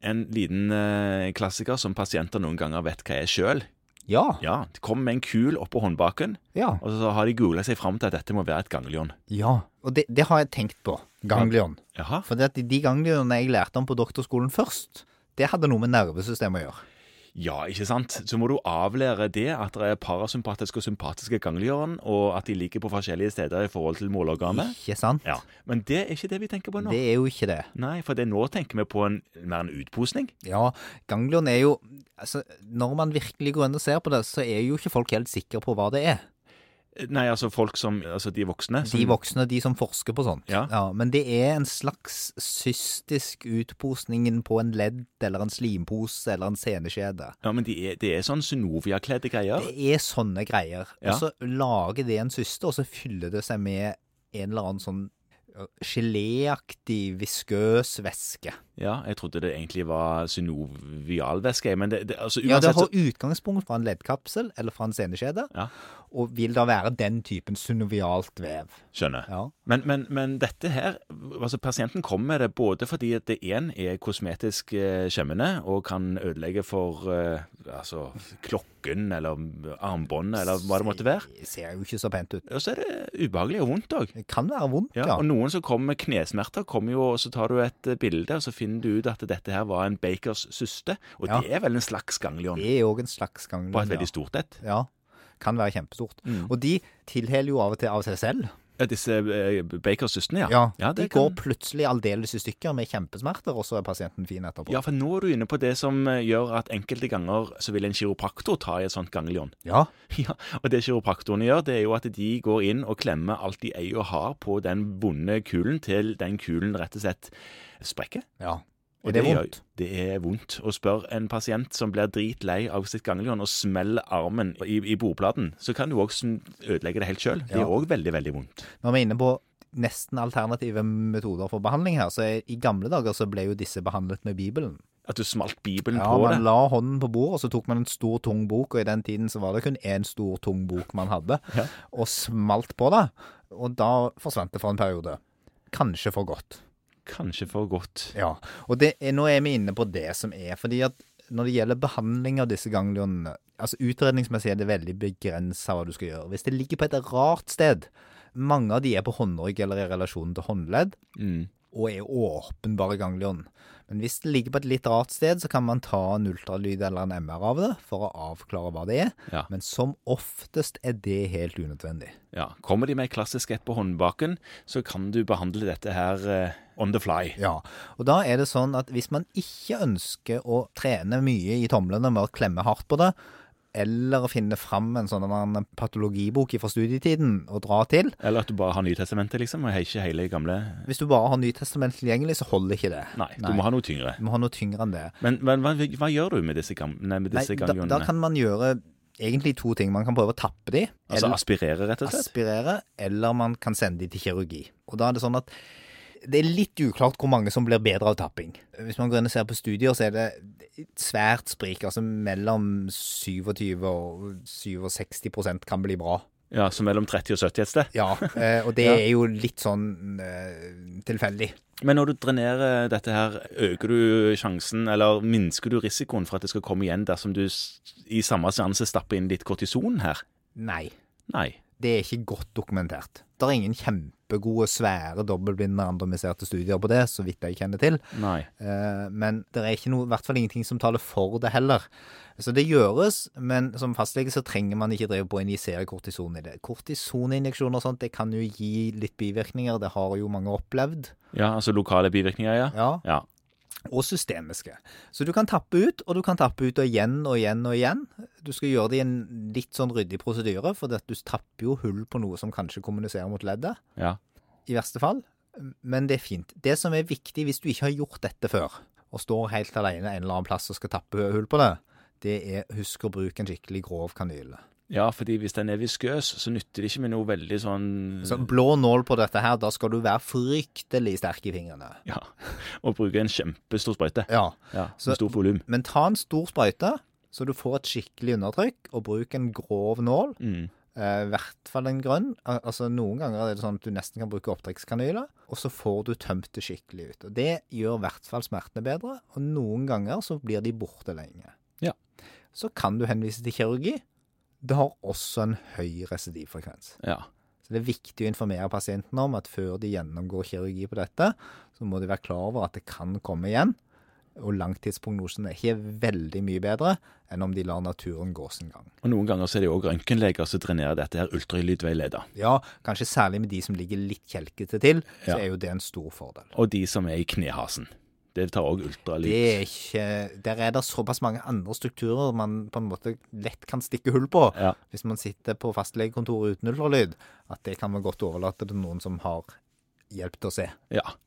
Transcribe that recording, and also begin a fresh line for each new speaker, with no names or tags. en liten eh, klassiker som pasienter noen ganger vet hva er sjøl.
Ja.
Ja, de kommer med en kul oppå håndbaken,
Ja.
og så har de googla seg fram til at dette må være et ganglion.
ja. Og det, det har jeg tenkt på. Ganglion.
Jaha.
For det at de ganglionene jeg lærte om på doktorskolen først, det hadde noe med nervesystemet å gjøre.
Ja, ikke sant? Så må du avlære det at det er parasympatiske og sympatiske ganglion, og at de ligger på forskjellige steder i forhold til måleorganet.
Ikke sant?
Ja, Men det er ikke det vi tenker på nå.
Det er jo ikke det.
Nei, for det nå tenker vi på en, mer en utposning.
Ja, ganglion er jo altså, Når man virkelig går inn og ser på det, så er jo ikke folk helt sikre på hva det er.
Nei, altså folk som Altså de voksne. Som,
De voksne, de som forsker på sånt.
Ja.
men det er en slags cystisk utposning på en ledd eller en slimpose eller en seneskjede.
Ja, men de er, det er sånn synovia-kledde greier.
Det er sånne greier.
Ja.
Og så lager det en syste, og så fyller det seg med en eller annen sånn ø, geléaktig, viskøs væske.
Ja, jeg trodde det egentlig var synovialvæske, men det, det altså
Ja, det
uansett
har utgangspunkt fra en leddkapsel eller fra en seneskjede,
Ja.
og vil da være den typen synovialt vev.
så, Skjønner.
Ja.
Men, men, men dette her altså Pasienten kommer med det både fordi at det én er kosmetisk eh, skjemmende og kan ødelegge for eh, altså klokken eller armbåndet eller hva det måtte være.
Det ser jo ikke så pent ut.
Og så er det ubehagelig og vondt òg.
Det kan være vondt,
Ja,
ja.
Og noen som kommer med knesmerter, kommer jo, og så tar du et eh, bilde, og så finner du ut at dette her var en bakers syste. Og
Ja.
det er vel en slags ganglion,
Det er jo en slags ganglion.
bare et veldig Mm.
ja.
stort et.
Ja, kan være kjempestort. Og de tilheler jo av og til av seg selv.
Ja, disse eh, bakers systene, ja.
Ja,
ja,
De
det
går
kan-
plutselig aldeles i stykker med kjempesmerter, og så er pasienten fin etterpå.
ja, for nå er du inne på det som eh, gjør at enkelte ganger så vil en kiropraktor ta i et sånt ganglion.
ja.
Ja, og det kiropraktorene gjør, det er jo at de går inn og klemmer alt de eier og har på den vonde kulen til den kulen rett og slett sprekker.
Ja.
Og
Og det er
gjør-
vondt.
Det er vondt. Og spør en pasient som blir dritlei av sitt ganglion og smeller armen i, i bordplaten, så kan du òg ødelegge det helt sjøl. Det
Ja.
er òg veldig, veldig vondt.
Når vi er inne på nesten alternative metoder for behandling her, så er, i gamle dager så ble jo disse behandlet med Bibelen.
At du smalt Bibelen
Ja,
på
Man
det.
la hånden på bordet, og så tok man en stor, tung bok, og i den tiden så var det kun én stor, tung bok man hadde, og smalt på det. Og da forsvant det for en periode. Kanskje for godt.
Kanskje for godt.
Ja, og det er, nå er vi inne på det som er, fordi at når det gjelder behandling av disse ganglionene, altså utredningsmessig er det veldig begrenset hva du skal gjøre. Hvis det ligger på et rart sted, mange av de er på håndrygg eller i relasjon til håndledd,
Mm.
og er åpenbare ganglion. Men hvis det ligger på et litt rart sted, så kan man ta en ultralyd eller en MR av det, for å avklare hva det er.
Ja.
Men som oftest er det helt unødvendig.
ja. Kommer de med klassisk ett på håndbaken, så kan du behandle dette her eh, on the fly.
Ja, og da er det sånn at hvis man ikke ønsker å trene mye i tomlene med å klemme hardt på det, eller å finne fram en sånn en patologibok fra studietiden og dra til
Eller at du bare har Nytestamentet, liksom, og ikke hele gamle
Hvis du bare har Nytestament tilgjengelig, så holder ikke det.
Nei, du må ha noe tyngre.
Du må ha noe tyngre enn det.
Men, men hva, hva gjør du med disse, gam- nei, med
Nei,
disse
da, da
ganglionene?
kan man gjøre egentlig to ting. Man kan prøve å tappe de,
altså
eller
aspirere, rett og slett?
aspirere, eller man kan sende de til kirurgi. Og da er det sånn at det er litt uklart hvor mange som blir bedre av tapping. Hvis man går inn og ser på studier, så er det et svært sprik. Altså mellom 27 og 67 prosent kan bli bra.
Ja, Så mellom 30 og 70 et sted?
Ja, eh, og det
Ja.
er jo litt sånn eh, tilfeldig.
Men når du drenerer dette her, øker du sjansen, eller minsker du risikoen for at det skal komme igjen dersom du s- i samme seanse stapper inn litt kortison her?
Nei,
Nei.
det er ikke godt dokumentert. Det er ingen kjempegode, svære, dobbeltblinde, randomiserte studier på det, så vidt jeg kjenner til.
Nei.
Eh, Men det er ikke noe, i hvert fall ingenting som taler for det heller. Så det gjøres, men som fastlege så trenger man ikke drive på å injisere kortison i det. Kortisoninjeksjoner og sånt, det kan jo gi litt bivirkninger, det har jo mange opplevd.
Ja, altså lokale bivirkninger, ja.
Ja,
Ja.
og systemiske. Så du kan tappe ut, og du kan tappe ut og igjen og igjen og igjen. Du skal gjøre det i en litt sånn ryddig prosedyre, for det at du tapper jo hull på noe som kanskje kommuniserer mot leddet,
ja.
i verste fall. Men det er fint. Det som er viktig hvis du ikke har gjort dette før, og står helt alene en eller annen plass og skal tappe hull på det, det er husk å bruke en skikkelig grov kanyle.
Ja, fordi hvis den er viskøs, så nytter det ikke med noe veldig sånn
Så blå nål på dette her, da skal du være fryktelig sterk i fingrene.
Ja. Å bruke en kjempestor sprøyte.
Ja.
Ja,
Så-
med stort volum.
Men ta en stor sprøyte, så du får et skikkelig undertrykk, og bruk en grov nål.
Mm.
eh, i hvert fall en grønn. Al altså Noen ganger er det sånn at du nesten kan bruke opptrekkskanyler, og så får du tømt det skikkelig ut. Og Det gjør i hvert fall smertene bedre, og noen ganger så blir de borte lenge.
Ja.
Så kan du henvise til kirurgi. Det har også en høy residivfrekvens.
Ja.
Så det er viktig å informere pasientene om at før de gjennomgår kirurgi på dette, så må de være klar over at det kan komme igjen. Og langtidsprognosen er ikke veldig mye bedre enn om de lar naturen gå sin gang.
Og noen ganger så er det òg røntgenleger som trenerer dette her ultralydveileda.
Ja, kanskje særlig med de som ligger litt kjelkete til, så
Ja.
er jo det en stor fordel.
Og de som er i knehasen. Det tar òg ultralyd.
Det er ikke, der er det såpass mange andre strukturer man på en måte lett kan stikke hull på.
Ja.
Hvis man sitter på fastlegekontoret uten ultralyd, at det kan man godt overlate til noen som har hjelp til å se.
ja.